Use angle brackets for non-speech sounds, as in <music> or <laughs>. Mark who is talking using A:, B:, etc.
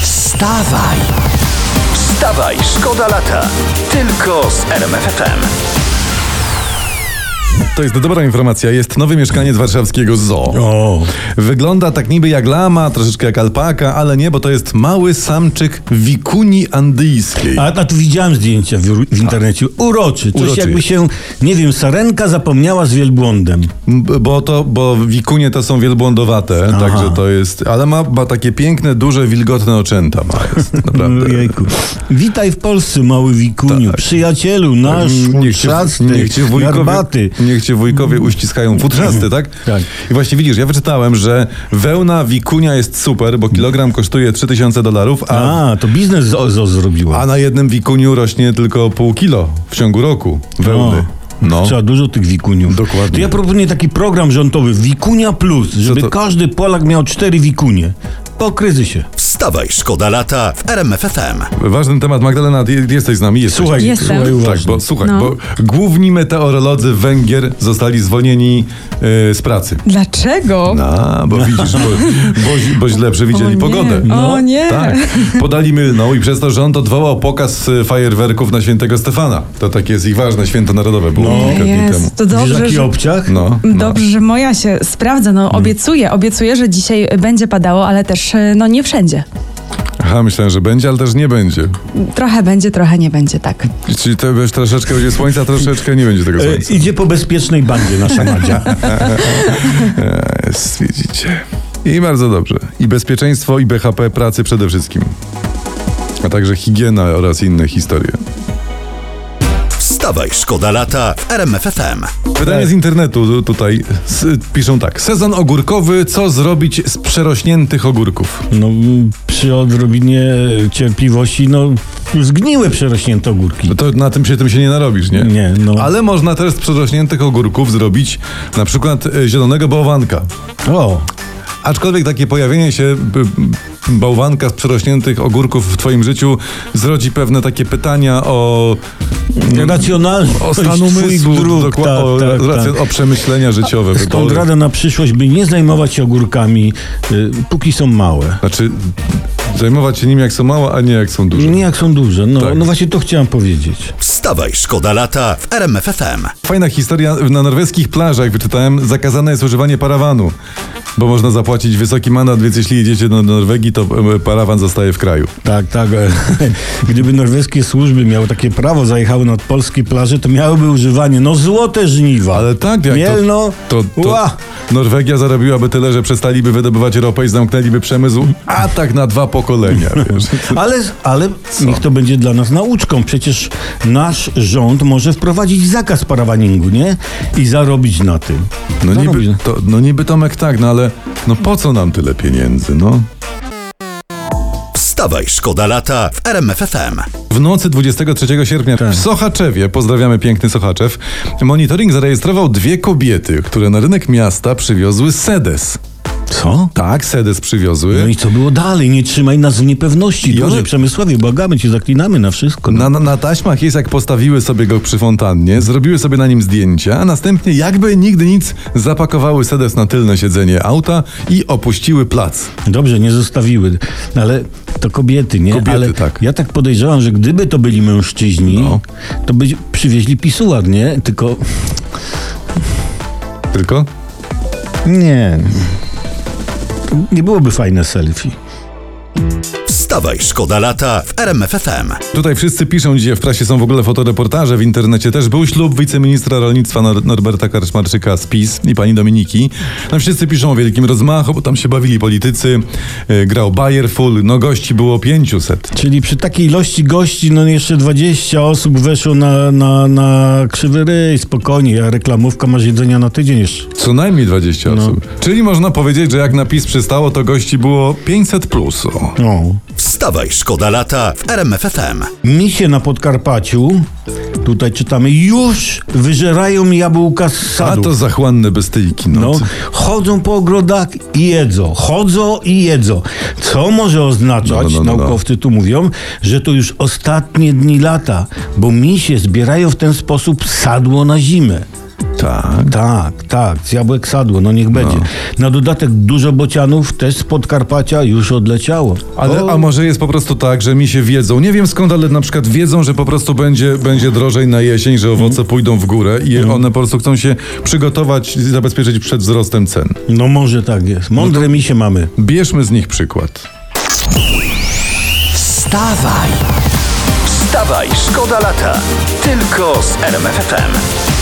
A: Wstawaj! Wstawaj, szkoda lata. Tylko z RMFFM.
B: To jest dobra informacja. Jest nowy mieszkaniec warszawskiego zoo.
C: O,
B: Wygląda tak niby jak lama, troszeczkę jak alpaka, ale nie, bo to jest mały samczyk wikuni andyjskiej.
C: a, a tu widziałem zdjęcia w, w internecie. Uroczy. Coś
B: Uroczy
C: jakby
B: jest.
C: się, nie wiem, sarenka zapomniała z wielbłądem.
B: M- Bo to, bo wikunie to są wielbłądowate, także to jest, ale ma, ma takie piękne, duże, wilgotne oczęta ma, jest, naprawdę.
C: Ojejku. Witaj w Polsce, mały wikuniu. Przyjacielu, nasz
B: Tak. Niech cię,
C: futrzasty,
B: niech, cię wujkowie,
C: garbaty.
B: niech cię wujkowie uściskają futrzasty, tak?
C: Tak.
B: I właśnie widzisz, ja wyczytałem, że wełna wikunia jest super, bo kilogram kosztuje 3000 dolarów, a
C: A, to biznes zo, zo zrobiło.
B: A na jednym wikuniu rośnie tylko pół kilo w ciągu roku wełny. No.
C: Trzeba dużo tych wikuniów.
B: Dokładnie.
C: To ja proponuję taki program rządowy Wikunia Plus, żeby
B: to-
C: każdy Polak miał cztery wikunie. Po kryzysie.
A: Wstawaj, szkoda lata w RMFFM.
B: Ważny temat, Magdalena, ty jesteś z nami? Jesteś.
C: Słuchaj,
D: Jestem.
C: słuchaj
B: Tak,
C: uważnie.
B: bo, słuchaj,
D: No.
B: bo główni meteorolodzy Węgier zostali zwolnieni e, z pracy.
D: Dlaczego?
B: A,
C: No.
B: bo widzisz, bo, bo, bo źle
D: o
B: przewidzieli
D: nie.
B: pogodę.
D: o nie.
B: Tak, podali mylną i przez to rząd odwołał pokaz e, fajerwerków na świętego Stefana. To takie jest ich ważne święto narodowe, było kilka dni temu.
D: No. Jest, to
C: Widzisz
D: dobrze,
C: taki
D: że,
C: obciach?
B: No, Mm. no.
D: dobrze, że moja się sprawdza. No, obiecuję, obiecuję, że dzisiaj będzie padało, ale też y, no nie wszędzie.
B: Aha, myślałem, że będzie, ale też nie będzie.
D: Trochę będzie, trochę nie będzie, tak.
B: Czyli to wiesz, troszeczkę będzie słońca, troszeczkę nie będzie tego
C: E,
B: słońca.
C: idzie po bezpiecznej bandzie nasza Madzia.
B: Jest, widzicie. I bardzo dobrze. I bezpieczeństwo, i BHP pracy przede wszystkim. A także higiena oraz inne historie.
A: Wstawaj, szkoda lata w RMFFM.
B: Pytanie z
C: Tak.
B: internetu tu- tutaj. S piszą tak. Sezon ogórkowy. Co zrobić z przerośniętych ogórków?
C: No, m, przy odrobinie cierpliwości, no, zgniłe przerośnięte ogórki.
B: No to na tym się tym się nie narobisz, nie?
C: Nie, no.
B: Ale można też z przerośniętych ogórków zrobić na przykład e, zielonego bałwanka.
C: O,
B: Aczkolwiek takie pojawienie się b- b- bałwanka z przerośniętych ogórków w twoim życiu zrodzi pewne takie pytania o
C: No, racjonalność.
B: O stan umysłu,
C: twój dróg,
B: dokła-
C: tak,
B: o,
C: tak,
B: rację-
C: tak.
B: o przemyślenia życiowe.
C: Stąd
B: wybory.
C: rada na przyszłość, by nie zajmować się ogórkami, y, póki są małe.
B: Znaczy, zajmować się nim jak są małe, a nie jak są duże.
C: Nie jak są duże. No,
B: Tak.
C: no właśnie to chciałem powiedzieć.
A: Wstawaj, szkoda lata w RMFFM.
B: Fajna historia, na norweskich plażach wyczytałem, zakazane jest używanie parawanu, bo można zapłacić wysoki mandat, więc jeśli jedziecie do Norwegii, to e, parawan zostaje w kraju.
C: Tak, tak. e, <laughs> Gdyby norweskie służby miały takie prawo, zajechały nad polskie plaże, to miałyby używanie, no złote żniwa.
B: Ale tak, jak to-
C: Mielno,
B: To, to
C: Ła!
B: Norwegia zarobiłaby tyle, że przestaliby wydobywać ropę i zamknęliby przemysł, a tak na dwa pokolenia, wiesz.
C: Ale, ale niech to będzie dla nas nauczką. Przecież nasz rząd może wprowadzić zakaz parawaningu, nie? I zarobić na tym.
B: No
C: Zarobić.
B: niby, to, no niby Tomek tak, no ale no po co nam tyle pieniędzy, no?
A: Wstawaj, szkoda lata w RMFFM.
B: W nocy 23 sierpnia w Sochaczewie, pozdrawiamy piękny Sochaczew, monitoring zarejestrował dwie kobiety, które na rynek miasta przywiozły sedes.
C: Co?
B: Tak, sedes przywiozły.
C: No i co było dalej? Nie trzymaj nas w niepewności.
B: I one-
C: Boże, Przemysławie, błagamy cię, zaklinamy na wszystko. No.
B: na, na, na taśmach jest jak postawiły sobie go przy fontannie, zrobiły sobie na nim zdjęcia, a następnie jakby nigdy nic zapakowały sedes na tylne siedzenie auta i opuściły plac.
C: Dobrze, nie zostawiły. No Ale to kobiety, nie?
B: Kobiety,
C: ale
B: tak.
C: Ja tak podejrzewam, że gdyby to byli mężczyźni,
B: No.
C: to by przywieźli pisuar, nie? Tylko
B: Tylko?
C: nie. Nie byłoby fajne selfie.
A: Wstawaj, szkoda lata w RMFFM.
B: Tutaj wszyscy piszą dzisiaj, w prasie są w ogóle fotoreportaże, w internecie też był ślub wiceministra rolnictwa Nor- Norberta Karczmarczyka z PiS i pani Dominiki. Tam wszyscy piszą o wielkim rozmachu, bo tam się bawili politycy, e, grał Bayer Full, no gości było 500.
C: Czyli przy takiej ilości gości, no jeszcze 20 osób weszło na, na, na krzywy ryj, spokojnie, a reklamówka masz jedzenia na tydzień jeszcze.
B: Co najmniej 20 osób. Czyli można powiedzieć, że jak na PiS przystało, to gości było 500 plus. O.
C: No.
A: Wstawaj, szkoda lata w RMFFM.
C: Misie na Podkarpaciu, tutaj czytamy, już wyżerają jabłka z
B: A to
C: sadu.
B: znaczy- zachłanne bestyjki
C: No,
B: nocy.
C: chodzą po ogrodach i jedzą, chodzą i jedzą. Co może oznaczać,
B: No, no, no, no.
C: naukowcy tu mówią, że to już ostatnie dni lata, bo misie zbierają w ten sposób sadło na zimę.
B: Tak.
C: Tak, tak, z jabłek sadło, no niech będzie. Na dodatek dużo bocianów też z Podkarpacia już odleciało.
B: Ale, a może jest po prostu tak, że mi się wiedzą, nie wiem skąd, ale na przykład wiedzą, że po prostu będzie, będzie drożej na jesień, że owoce pójdą w górę i one po prostu chcą się przygotować i zabezpieczyć przed wzrostem cen.
C: No może tak jest. Mądre mi się mamy.
B: Bierzmy z nich przykład.
A: Wstawaj! Wstawaj, szkoda lata! Tylko z RMFFM.